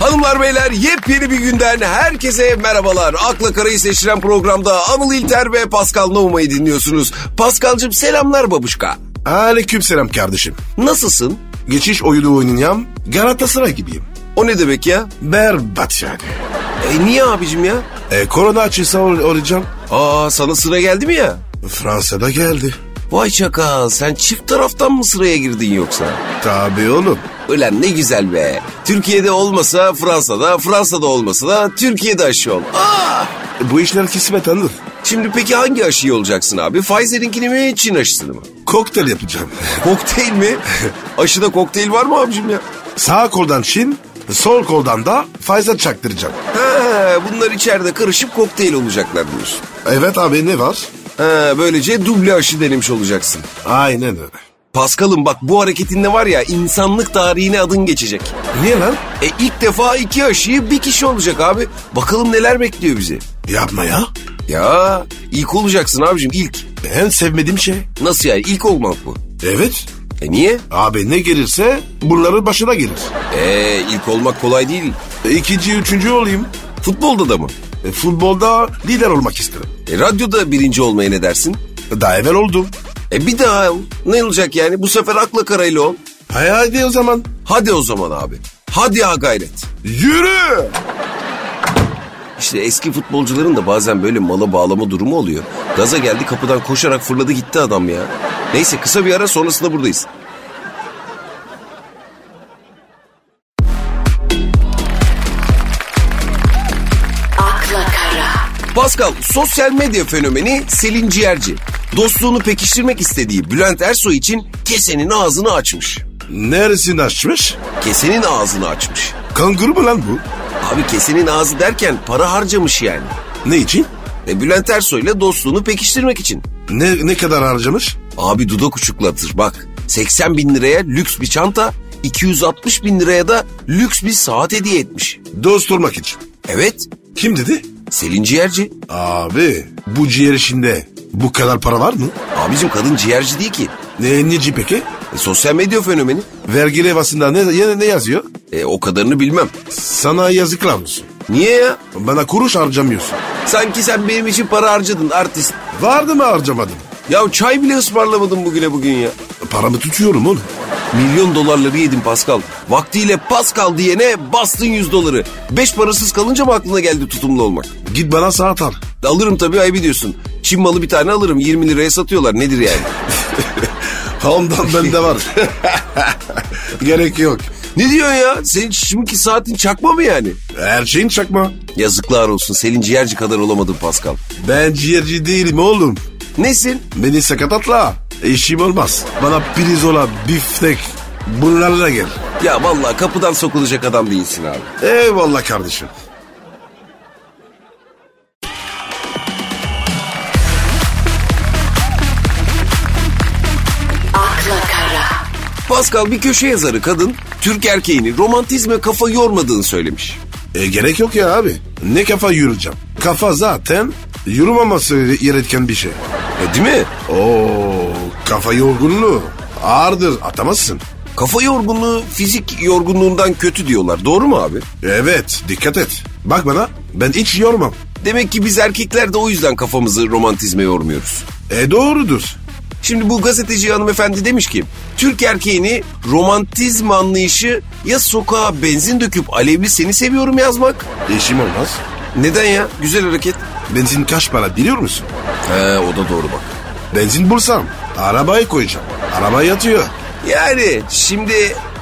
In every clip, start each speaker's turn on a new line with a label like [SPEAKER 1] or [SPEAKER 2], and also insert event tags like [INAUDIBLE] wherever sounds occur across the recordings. [SPEAKER 1] Hanımlar beyler yepyeni bir günden herkese merhabalar. Akla Karayı seçilen programda Anıl İlter ve Pascal Nohuma'yı dinliyorsunuz. Pascal'cığım selamlar babuşka.
[SPEAKER 2] Aleyküm selam kardeşim.
[SPEAKER 1] Nasılsın?
[SPEAKER 2] Geçiş oyunu oynayan Galatasaray gibiyim.
[SPEAKER 1] O ne demek ya?
[SPEAKER 2] Berbat yani.
[SPEAKER 1] E niye abicim ya?
[SPEAKER 2] E, korona açılsa ol- olacağım.
[SPEAKER 1] Aa sana sıra geldi mi ya?
[SPEAKER 2] Fransa'da geldi.
[SPEAKER 1] Vay çakal sen çift taraftan mı sıraya girdin yoksa?
[SPEAKER 2] Tabii oğlum.
[SPEAKER 1] Ulan ne güzel be. Türkiye'de olmasa Fransa'da, Fransa'da olmasa da Türkiye'de aşı ol. Aa!
[SPEAKER 2] E, Bu işler kısmet anır.
[SPEAKER 1] Şimdi peki hangi aşıyı olacaksın abi? Pfizer'inkini mi, Çin aşısını mı?
[SPEAKER 2] Kokteyl yapacağım.
[SPEAKER 1] Kokteyl mi? [LAUGHS] Aşıda kokteyl var mı abicim ya?
[SPEAKER 2] Sağ koldan Çin, sol koldan da Pfizer çaktıracağım.
[SPEAKER 1] Ha, bunlar içeride karışıp kokteyl olacaklar diyorsun.
[SPEAKER 2] Evet abi ne var?
[SPEAKER 1] Ha, böylece duble aşı denemiş olacaksın.
[SPEAKER 2] Aynen öyle.
[SPEAKER 1] Paskal'ım bak bu hareketinde var ya insanlık tarihine adın geçecek.
[SPEAKER 2] Niye lan?
[SPEAKER 1] E ilk defa iki aşıyı bir kişi olacak abi. Bakalım neler bekliyor bizi.
[SPEAKER 2] Yapma ya.
[SPEAKER 1] Ya ilk olacaksın abicim ilk.
[SPEAKER 2] En sevmediğim şey.
[SPEAKER 1] Nasıl yani ilk olmak bu?
[SPEAKER 2] Evet.
[SPEAKER 1] E niye?
[SPEAKER 2] Abi ne gelirse bunların başına gelir.
[SPEAKER 1] E ilk olmak kolay değil.
[SPEAKER 2] E, İkinci, üçüncü olayım.
[SPEAKER 1] Futbolda da mı?
[SPEAKER 2] E, futbolda lider olmak isterim.
[SPEAKER 1] E, radyoda birinci olmaya ne dersin?
[SPEAKER 2] Daha evvel oldum.
[SPEAKER 1] E bir daha ne olacak yani? Bu sefer akla karayla ol.
[SPEAKER 2] Hay haydi o zaman.
[SPEAKER 1] Hadi o zaman abi. Hadi ya gayret.
[SPEAKER 2] Yürü!
[SPEAKER 1] İşte eski futbolcuların da bazen böyle mala bağlama durumu oluyor. Gaza geldi kapıdan koşarak fırladı gitti adam ya. Neyse kısa bir ara sonrasında buradayız.
[SPEAKER 3] akla kara,
[SPEAKER 1] Pascal sosyal medya fenomeni Selin Ciğerci. Dostluğunu pekiştirmek istediği Bülent Ersoy için kesenin ağzını açmış.
[SPEAKER 2] Neresini açmış?
[SPEAKER 1] Kesenin ağzını açmış.
[SPEAKER 2] Kanguru mu lan bu?
[SPEAKER 1] Abi kesenin ağzı derken para harcamış yani.
[SPEAKER 2] Ne için?
[SPEAKER 1] E Bülent Ersoy'la dostluğunu pekiştirmek için.
[SPEAKER 2] Ne, ne kadar harcamış?
[SPEAKER 1] Abi dudak uçuklatır bak. 80 bin liraya lüks bir çanta, 260 bin liraya da lüks bir saat hediye etmiş.
[SPEAKER 2] Dost olmak için.
[SPEAKER 1] Evet,
[SPEAKER 2] Kim dedi?
[SPEAKER 1] Selin Ciğerci.
[SPEAKER 2] Abi bu ciğer işinde bu kadar para var mı?
[SPEAKER 1] Abicim kadın ciğerci değil ki.
[SPEAKER 2] Ne, neci peki?
[SPEAKER 1] E, sosyal medya fenomeni.
[SPEAKER 2] Vergi levhasında ne, ne, ne yazıyor?
[SPEAKER 1] E, o kadarını bilmem.
[SPEAKER 2] Sana yazıklar olsun.
[SPEAKER 1] Niye ya?
[SPEAKER 2] Bana kuruş harcamıyorsun.
[SPEAKER 1] Sanki sen benim için para harcadın artist.
[SPEAKER 2] Vardı mı harcamadın?
[SPEAKER 1] Ya çay bile ısmarlamadın bugüne bugün ya.
[SPEAKER 2] Paramı tutuyorum oğlum.
[SPEAKER 1] Milyon dolarları yedin Pascal. Vaktiyle Pascal diyene bastın 100 doları. Beş parasız kalınca mı aklına geldi tutumlu olmak?
[SPEAKER 2] Git bana saat al.
[SPEAKER 1] Alırım tabii ayıp ediyorsun. Çin malı bir tane alırım 20 liraya satıyorlar nedir yani?
[SPEAKER 2] Ondan bende var. Gerek yok.
[SPEAKER 1] ne diyorsun ya? Senin şimdiki saatin çakma mı yani?
[SPEAKER 2] Her şeyin çakma.
[SPEAKER 1] Yazıklar olsun Selin ciğerci kadar olamadın Pascal.
[SPEAKER 2] Ben ciğerci değilim oğlum.
[SPEAKER 1] Nesin?
[SPEAKER 2] Beni sakatatla. İşim olmaz. Bana pirzola, biftek bunlarla gel.
[SPEAKER 1] Ya vallahi kapıdan sokulacak adam değilsin abi.
[SPEAKER 2] Eyvallah kardeşim.
[SPEAKER 3] akla kara,
[SPEAKER 1] Pascal bir köşe yazarı kadın Türk erkeğini romantizme kafa yormadığını söylemiş.
[SPEAKER 2] E, gerek yok ya abi. Ne kafa yürüyeceğim? Kafa zaten yürümaması gereken bir şey.
[SPEAKER 1] E, değil mi?
[SPEAKER 2] Oo, kafa yorgunluğu. Ağırdır atamazsın.
[SPEAKER 1] Kafa yorgunluğu fizik yorgunluğundan kötü diyorlar. Doğru mu abi?
[SPEAKER 2] Evet dikkat et. Bak bana ben hiç yormam.
[SPEAKER 1] Demek ki biz erkekler de o yüzden kafamızı romantizme yormuyoruz.
[SPEAKER 2] E doğrudur.
[SPEAKER 1] Şimdi bu gazeteci hanımefendi demiş ki Türk erkeğini romantizm anlayışı ya sokağa benzin döküp alevli seni seviyorum yazmak.
[SPEAKER 2] İşim olmaz.
[SPEAKER 1] Neden ya? Güzel hareket.
[SPEAKER 2] Benzin kaç para biliyor musun?
[SPEAKER 1] He o da doğru bak.
[SPEAKER 2] Benzin bulsam arabaya koyacağım. Araba yatıyor.
[SPEAKER 1] Yani şimdi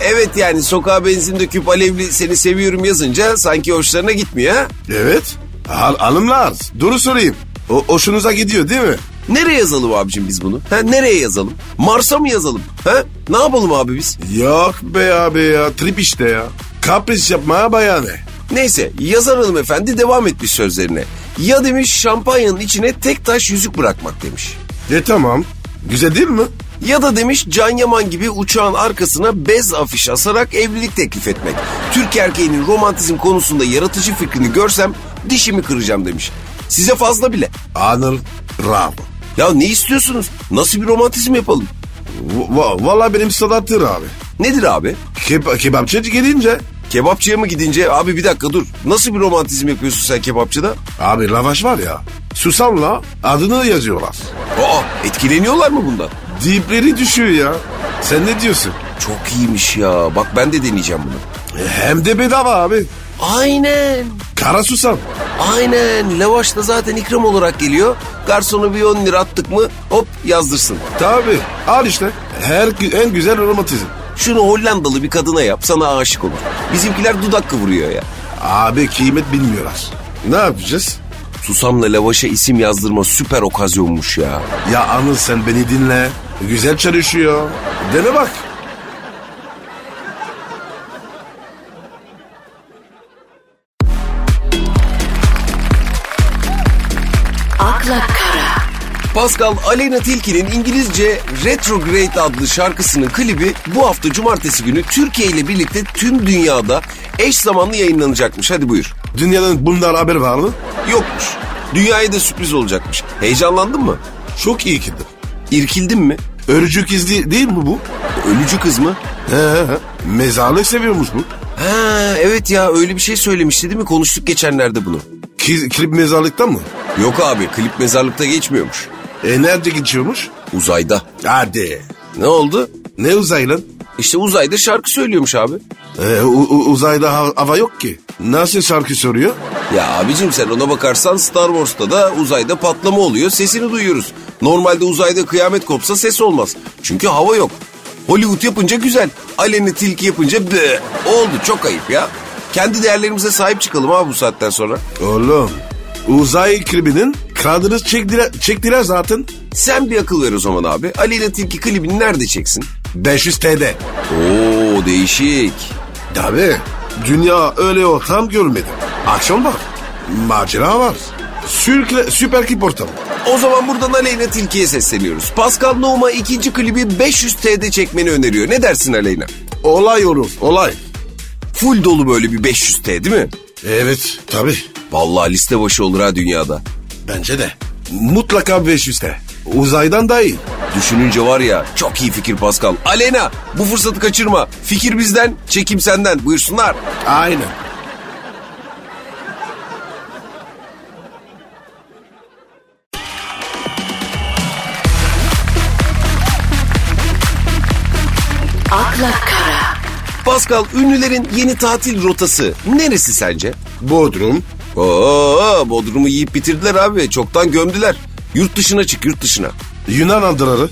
[SPEAKER 1] evet yani sokağa benzin döküp alevli seni seviyorum yazınca sanki hoşlarına gitmiyor ha?
[SPEAKER 2] Evet. Al, alımlar. Doğru sorayım. O hoşunuza gidiyor değil mi?
[SPEAKER 1] Nereye yazalım abicim biz bunu? Ha, nereye yazalım? Mars'a mı yazalım? Ha? Ne yapalım abi biz?
[SPEAKER 2] Yok be abi ya. Trip işte ya. Kapris yapmaya bayağı ne?
[SPEAKER 1] Neyse yazar hanımefendi devam etmiş sözlerine. Ya demiş şampanyanın içine tek taş yüzük bırakmak demiş.
[SPEAKER 2] E tamam. Güzel değil mi?
[SPEAKER 1] Ya da demiş Can Yaman gibi uçağın arkasına bez afiş asarak evlilik teklif etmek. Türk erkeğinin romantizm konusunda yaratıcı fikrini görsem dişimi kıracağım demiş. Size fazla bile.
[SPEAKER 2] Anıl Bravo.
[SPEAKER 1] Ya ne istiyorsunuz? Nasıl bir romantizm yapalım?
[SPEAKER 2] V- va- Valla benim sanattır abi.
[SPEAKER 1] Nedir abi?
[SPEAKER 2] Keb- kebapçı gelince
[SPEAKER 1] Kebapçıya mı gidince abi bir dakika dur. Nasıl bir romantizm yapıyorsun sen kebapçıda?
[SPEAKER 2] Abi lavaş var ya. Susamla adını yazıyorlar.
[SPEAKER 1] Aa etkileniyorlar mı bundan?
[SPEAKER 2] Dipleri düşüyor ya. Sen ne diyorsun?
[SPEAKER 1] Çok iyiymiş ya. Bak ben de deneyeceğim bunu.
[SPEAKER 2] E, Hem de bedava abi.
[SPEAKER 1] Aynen.
[SPEAKER 2] Kara susam.
[SPEAKER 1] Aynen. Lavaş da zaten ikram olarak geliyor. Garsona bir 10 lira attık mı hop yazdırsın.
[SPEAKER 2] Tabi. Al işte. Her gü- en güzel romantizm.
[SPEAKER 1] Şunu Hollandalı bir kadına yap sana aşık olur. Bizimkiler dudak kıvırıyor ya.
[SPEAKER 2] Abi kıymet bilmiyorlar. Ne yapacağız?
[SPEAKER 1] Susam'la lavaşa isim yazdırma süper okazyonmuş ya.
[SPEAKER 2] Ya Anıl sen beni dinle. Güzel çalışıyor. Dene bak.
[SPEAKER 3] akla kara,
[SPEAKER 1] Pascal Aleyna Tilki'nin İngilizce Retrograde adlı şarkısının klibi bu hafta cumartesi günü Türkiye ile birlikte tüm dünyada eş zamanlı yayınlanacakmış. Hadi buyur.
[SPEAKER 2] Dünyadan bundan haber var mı?
[SPEAKER 1] Yokmuş. Dünyaya da sürpriz olacakmış. Heyecanlandın mı?
[SPEAKER 2] Çok iyi kedi.
[SPEAKER 1] İrkildin mi?
[SPEAKER 2] Örücük izli değil mi bu?
[SPEAKER 1] Ölücü kız mı?
[SPEAKER 2] He he he. Mezarlık seviyormuş bu.
[SPEAKER 1] Ha evet ya öyle bir şey söylemişti değil mi? Konuştuk geçenlerde bunu.
[SPEAKER 2] Ki, klip mezarlıkta mı?
[SPEAKER 1] Yok abi klip mezarlıkta geçmiyormuş.
[SPEAKER 2] E nerede geçiyormuş?
[SPEAKER 1] Uzayda.
[SPEAKER 2] Hadi.
[SPEAKER 1] Ne oldu?
[SPEAKER 2] Ne uzay lan?
[SPEAKER 1] İşte uzayda şarkı söylüyormuş abi.
[SPEAKER 2] E, u- u- uzayda ha- hava yok ki. Nasıl şarkı soruyor?
[SPEAKER 1] Ya abicim sen ona bakarsan Star Wars'ta da uzayda patlama oluyor sesini duyuyoruz. Normalde uzayda kıyamet kopsa ses olmaz. Çünkü hava yok. Hollywood yapınca güzel. Aleni tilki yapınca be. Oldu çok ayıp ya. Kendi değerlerimize sahip çıkalım abi bu saatten sonra.
[SPEAKER 2] Oğlum uzay klibinin kadını çektiler, çektiler zaten.
[SPEAKER 1] Sen bir akıl ver o zaman abi. Aleni tilki klibini nerede çeksin?
[SPEAKER 2] 500 TL.
[SPEAKER 1] Oo değişik.
[SPEAKER 2] Tabi dünya öyle ortam görmedim. Akşam var. Macera var. Sürkle, süper klip ortamı.
[SPEAKER 1] O zaman buradan Aleyna Tilki'ye sesleniyoruz. Pascal Nohum'a ikinci klibi 500 TL'de çekmeni öneriyor. Ne dersin Aleyna?
[SPEAKER 2] Olay olur olay.
[SPEAKER 1] Full dolu böyle bir 500 T değil mi?
[SPEAKER 2] Evet tabi
[SPEAKER 1] Vallahi liste başı olur ha dünyada.
[SPEAKER 2] bence de. Mutlaka 500 TL. Uzaydan daha iyi.
[SPEAKER 1] Düşününce var ya çok iyi fikir Pascal. Aleyna bu fırsatı kaçırma. Fikir bizden, çekim senden. Buyursunlar.
[SPEAKER 2] Aynen.
[SPEAKER 3] akla kara,
[SPEAKER 1] Pascal ünlülerin yeni tatil rotası neresi sence?
[SPEAKER 2] Bodrum.
[SPEAKER 1] Oo, Bodrum'u yiyip bitirdiler abi. Çoktan gömdüler. Yurt dışına çık yurt dışına.
[SPEAKER 2] Yunan adaları.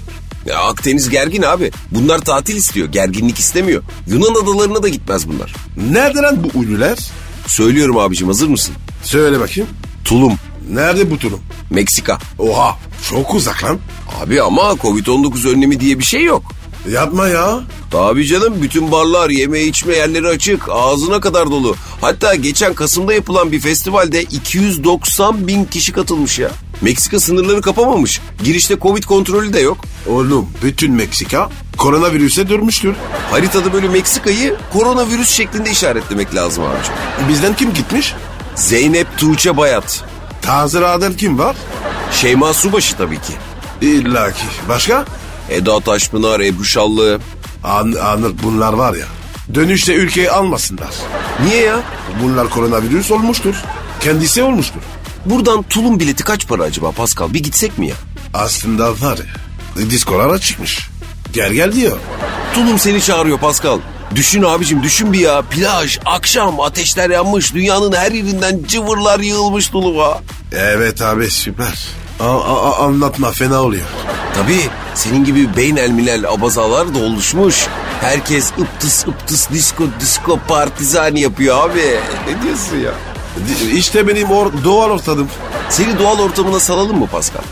[SPEAKER 1] Ya Akdeniz gergin abi. Bunlar tatil istiyor, gerginlik istemiyor. Yunan adalarına da gitmez bunlar.
[SPEAKER 2] Nerede lan bu ünlüler?
[SPEAKER 1] Söylüyorum abicim hazır mısın?
[SPEAKER 2] Söyle bakayım.
[SPEAKER 1] Tulum,
[SPEAKER 2] Nerede bu durum?
[SPEAKER 1] Meksika.
[SPEAKER 2] Oha çok uzak lan.
[SPEAKER 1] Abi ama Covid-19 önlemi diye bir şey yok.
[SPEAKER 2] Yapma ya.
[SPEAKER 1] Tabii canım bütün barlar, yeme içme yerleri açık, ağzına kadar dolu. Hatta geçen Kasım'da yapılan bir festivalde 290 bin kişi katılmış ya. Meksika sınırları kapamamış. Girişte Covid kontrolü de yok.
[SPEAKER 2] Oğlum bütün Meksika koronavirüse durmuştur.
[SPEAKER 1] Haritada böyle Meksika'yı koronavirüs şeklinde işaretlemek lazım abicim.
[SPEAKER 2] Bizden kim gitmiş?
[SPEAKER 1] Zeynep Tuğçe Bayat.
[SPEAKER 2] Tazıradan kim var?
[SPEAKER 1] Şeyma Subaşı tabii ki.
[SPEAKER 2] İlla ki. Başka?
[SPEAKER 1] Eda Taşpınar, Ebru Şallı.
[SPEAKER 2] An Anıl bunlar var ya. Dönüşte ülkeyi almasınlar.
[SPEAKER 1] Niye ya?
[SPEAKER 2] Bunlar koronavirüs olmuştur. Kendisi olmuştur.
[SPEAKER 1] Buradan tulum bileti kaç para acaba Pascal? Bir gitsek mi ya?
[SPEAKER 2] Aslında var ya. Diskolara çıkmış. Gel gel diyor.
[SPEAKER 1] Tulum seni çağırıyor Pascal. Düşün abicim düşün bir ya. Plaj, akşam, ateşler yanmış. Dünyanın her yerinden cıvırlar yığılmış tuluma.
[SPEAKER 2] Evet abi süper. A- a- a- anlatma fena oluyor.
[SPEAKER 1] Tabii senin gibi beyin elminel abazalar da oluşmuş. Herkes ıptıs ıptıs disko disko partizani yapıyor abi. Ne diyorsun ya?
[SPEAKER 2] Di- İşte benim or doğal ortadım.
[SPEAKER 1] Seni doğal ortamına salalım mı Pascal?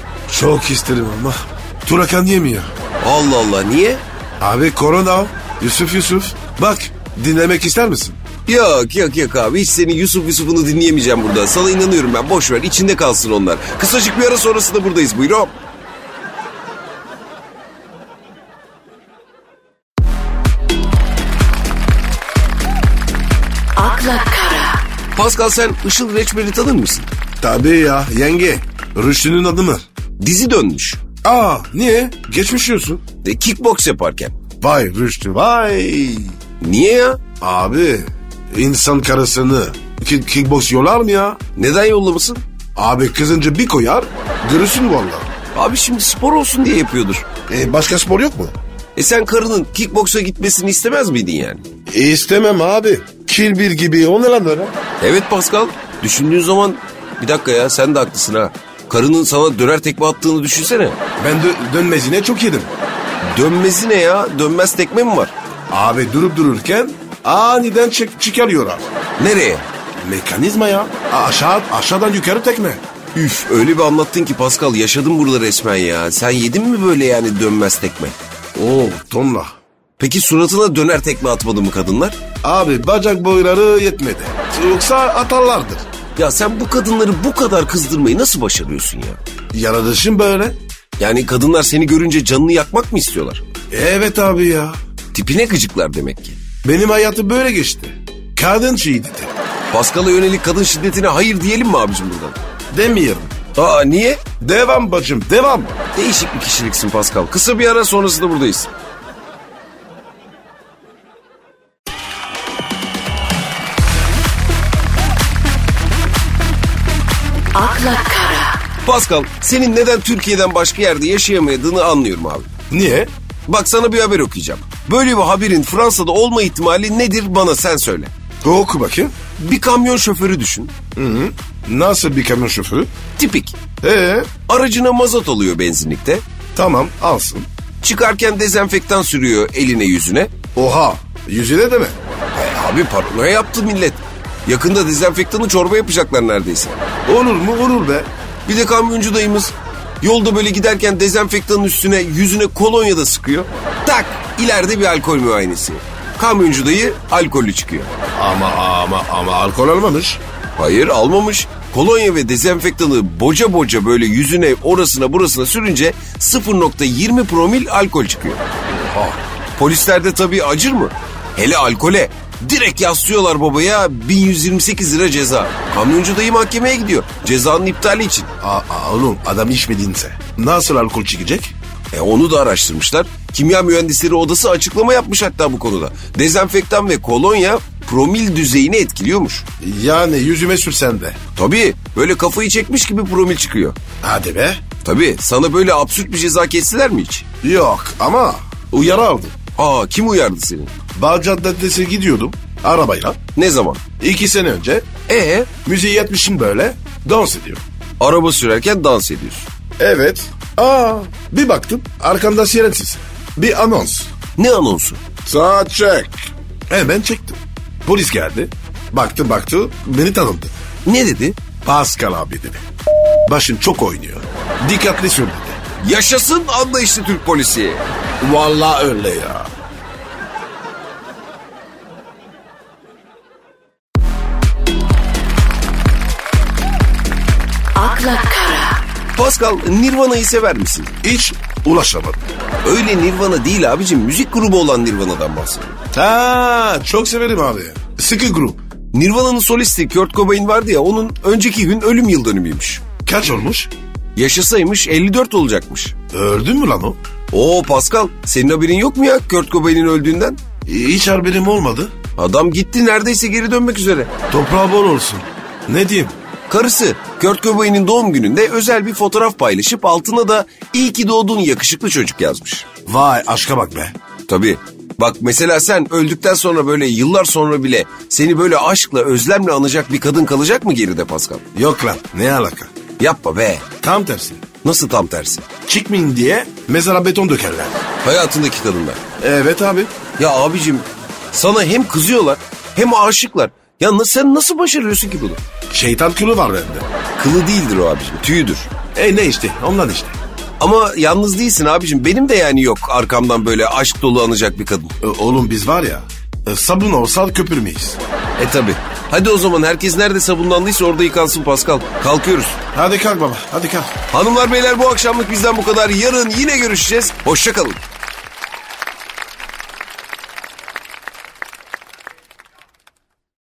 [SPEAKER 2] Çok isterim ama. Turakan yemiyor.
[SPEAKER 1] Allah Allah niye?
[SPEAKER 2] Abi korona. Yusuf Yusuf. Bak dinlemek ister misin?
[SPEAKER 1] Yok yok yok abi hiç senin Yusuf Yusuf'unu dinleyemeyeceğim burada. Sana inanıyorum ben boş ver içinde kalsın onlar. Kısacık bir ara sonrasında buradayız buyur hop.
[SPEAKER 3] akla kara,
[SPEAKER 1] Pascal sen Işıl Reçber'i tanır mısın?
[SPEAKER 2] Tabii ya yenge. Rüştü'nün adı mı?
[SPEAKER 1] Dizi dönmüş.
[SPEAKER 2] Aa niye? Geçmiş diyorsun.
[SPEAKER 1] E, kickbox yaparken.
[SPEAKER 2] Vay Rüştü vay.
[SPEAKER 1] Niye ya?
[SPEAKER 2] Abi İnsan karısını kick, kickbox yiyorlar mı ya?
[SPEAKER 1] Neden yollamasın?
[SPEAKER 2] Abi kızınca bir koyar, görürsün valla.
[SPEAKER 1] Abi şimdi spor olsun diye yapıyordur.
[SPEAKER 2] E, başka spor yok mu?
[SPEAKER 1] E sen karının kickboksa gitmesini istemez miydin yani?
[SPEAKER 2] E, istemem abi. Kil bir gibi o ne lan öyle?
[SPEAKER 1] Evet Pascal. Düşündüğün zaman bir dakika ya sen de haklısın ha. Karının sana döner tekme attığını düşünsene.
[SPEAKER 2] Ben dö- dönmezine çok yedim.
[SPEAKER 1] Dönmesi ne ya? Dönmez tekme mi var?
[SPEAKER 2] Abi durup dururken aniden çık çıkarıyorlar.
[SPEAKER 1] Nereye?
[SPEAKER 2] Mekanizma ya. Aşağı, aşağıdan yukarı tekme.
[SPEAKER 1] Üf öyle bir anlattın ki Pascal yaşadım burada resmen ya. Sen yedin mi böyle yani dönmez tekme?
[SPEAKER 2] Oo tonla.
[SPEAKER 1] Peki suratına döner tekme atmadı mı kadınlar?
[SPEAKER 2] Abi bacak boyları yetmedi. Yoksa atarlardır.
[SPEAKER 1] Ya sen bu kadınları bu kadar kızdırmayı nasıl başarıyorsun ya?
[SPEAKER 2] Yaratışım böyle.
[SPEAKER 1] Yani kadınlar seni görünce canını yakmak mı istiyorlar?
[SPEAKER 2] Evet abi ya.
[SPEAKER 1] Tipine gıcıklar demek ki.
[SPEAKER 2] Benim hayatım böyle geçti. Kadın şeydi de.
[SPEAKER 1] Pascal'a yönelik kadın şiddetine hayır diyelim mi abicim buradan?
[SPEAKER 2] Demiyorum.
[SPEAKER 1] Aa niye?
[SPEAKER 2] Devam bacım devam.
[SPEAKER 1] Değişik bir kişiliksin Pascal. Kısa bir ara sonrasında buradayız.
[SPEAKER 3] akla kara,
[SPEAKER 1] Pascal senin neden Türkiye'den başka yerde yaşayamadığını anlıyorum abi.
[SPEAKER 2] Niye?
[SPEAKER 1] Bak sana bir haber okuyacağım. Böyle bir haberin Fransa'da olma ihtimali nedir bana sen söyle.
[SPEAKER 2] Oku bakayım.
[SPEAKER 1] Bir kamyon şoförü düşün.
[SPEAKER 2] Nasıl bir kamyon şoförü?
[SPEAKER 1] Tipik.
[SPEAKER 2] Ee,
[SPEAKER 1] Aracına mazot alıyor benzinlikte.
[SPEAKER 2] tamam alsın.
[SPEAKER 1] Çıkarken dezenfektan sürüyor eline yüzüne.
[SPEAKER 2] Oha yüzüne de mi?
[SPEAKER 1] E, abi paranoya yaptı millet. Yakında dezenfektanı çorba yapacaklar neredeyse.
[SPEAKER 2] Olur mu olur be.
[SPEAKER 1] Bir de kamyoncu dayımız yolda böyle giderken dezenfektanın üstüne yüzüne kolonya da sıkıyor. Tak ileride bir alkol müayenesi. Kamyoncu dayı alkollü çıkıyor.
[SPEAKER 2] Ama ama ama alkol almamış.
[SPEAKER 1] Hayır almamış. Kolonya ve dezenfektanı boca boca böyle yüzüne orasına burasına sürünce 0.20 promil alkol çıkıyor. Oha.
[SPEAKER 2] Ah,
[SPEAKER 1] Polisler de tabii acır mı? Hele alkole. Direkt yaslıyorlar babaya 1128 lira ceza. Kamyoncu dayı mahkemeye gidiyor. Cezanın iptali için.
[SPEAKER 2] Aa, aa, ah, oğlum adam içmedinse nasıl alkol çıkacak?
[SPEAKER 1] E onu da araştırmışlar. Kimya mühendisleri odası açıklama yapmış hatta bu konuda. Dezenfektan ve kolonya promil düzeyini etkiliyormuş.
[SPEAKER 2] Yani yüzüme sürsen de.
[SPEAKER 1] Tabii böyle kafayı çekmiş gibi promil çıkıyor.
[SPEAKER 2] Hadi be.
[SPEAKER 1] Tabii sana böyle absürt bir ceza kestiler mi hiç?
[SPEAKER 2] Yok ama uyarı aldım.
[SPEAKER 1] Aa kim uyardı seni?
[SPEAKER 2] Bağcı Caddesi'ne gidiyordum arabayla.
[SPEAKER 1] Ne zaman?
[SPEAKER 2] İki sene önce
[SPEAKER 1] E
[SPEAKER 2] müziği yetmişim böyle dans ediyorum.
[SPEAKER 1] araba sürerken dans ediyorsun.
[SPEAKER 2] Evet. Aa bir baktım arkamda sirensiz. Bir anons.
[SPEAKER 1] Ne anonsu?
[SPEAKER 2] Saat çek. Hemen çektim. Polis geldi. Baktı baktı beni tanıdı.
[SPEAKER 1] Ne dedi?
[SPEAKER 2] Pascal abi dedi. Başın çok oynuyor. Dikkatli sür dedi.
[SPEAKER 1] Yaşasın anlayışlı Türk polisi.
[SPEAKER 2] Vallahi öyle ya.
[SPEAKER 3] akla kara,
[SPEAKER 1] Pascal Nirvana'yı sever misin?
[SPEAKER 2] Hiç ulaşamadım.
[SPEAKER 1] Öyle Nirvana değil abicim müzik grubu olan Nirvana'dan bahsediyorum.
[SPEAKER 2] Ha çok severim abi. Sıkı grup.
[SPEAKER 1] Nirvana'nın solisti Kurt Cobain vardı ya onun önceki gün ölüm yıl dönümüymüş.
[SPEAKER 2] Kaç olmuş?
[SPEAKER 1] Yaşasaymış 54 olacakmış.
[SPEAKER 2] Öldün mü lan o?
[SPEAKER 1] Oo Pascal senin haberin yok mu ya Kurt Cobain'in öldüğünden?
[SPEAKER 2] Hiç haberim olmadı.
[SPEAKER 1] Adam gitti neredeyse geri dönmek üzere.
[SPEAKER 2] Toprağı bol olsun. Ne diyeyim?
[SPEAKER 1] Karısı Kurt Cobain'in doğum gününde özel bir fotoğraf paylaşıp altına da iyi ki doğdun yakışıklı çocuk yazmış.
[SPEAKER 2] Vay aşka bak be.
[SPEAKER 1] Tabii. Bak mesela sen öldükten sonra böyle yıllar sonra bile seni böyle aşkla özlemle anacak bir kadın kalacak mı geride Pascal?
[SPEAKER 2] Yok lan ne alaka?
[SPEAKER 1] Yapma be.
[SPEAKER 2] Tam tersi.
[SPEAKER 1] Nasıl tam tersi?
[SPEAKER 2] Çıkmayın diye mezara beton dökerler.
[SPEAKER 1] Hayatındaki kadınlar.
[SPEAKER 2] Evet abi.
[SPEAKER 1] Ya abicim sana hem kızıyorlar hem aşıklar. Ya na- sen nasıl başarıyorsun ki bunu?
[SPEAKER 2] Şeytan külü var bende.
[SPEAKER 1] Kılı değildir o abicim tüyüdür.
[SPEAKER 2] E ne işte ondan işte.
[SPEAKER 1] Ama yalnız değilsin abicim benim de yani yok arkamdan böyle aşk dolu anacak bir kadın.
[SPEAKER 2] E, oğlum biz var ya e, sabun olsa köpürmeyiz.
[SPEAKER 1] E tabi. Hadi o zaman herkes nerede sabunlandıysa orada yıkansın Pascal. Kalkıyoruz.
[SPEAKER 2] Hadi kalk baba hadi kalk.
[SPEAKER 1] Hanımlar beyler bu akşamlık bizden bu kadar. Yarın yine görüşeceğiz. Hoşçakalın.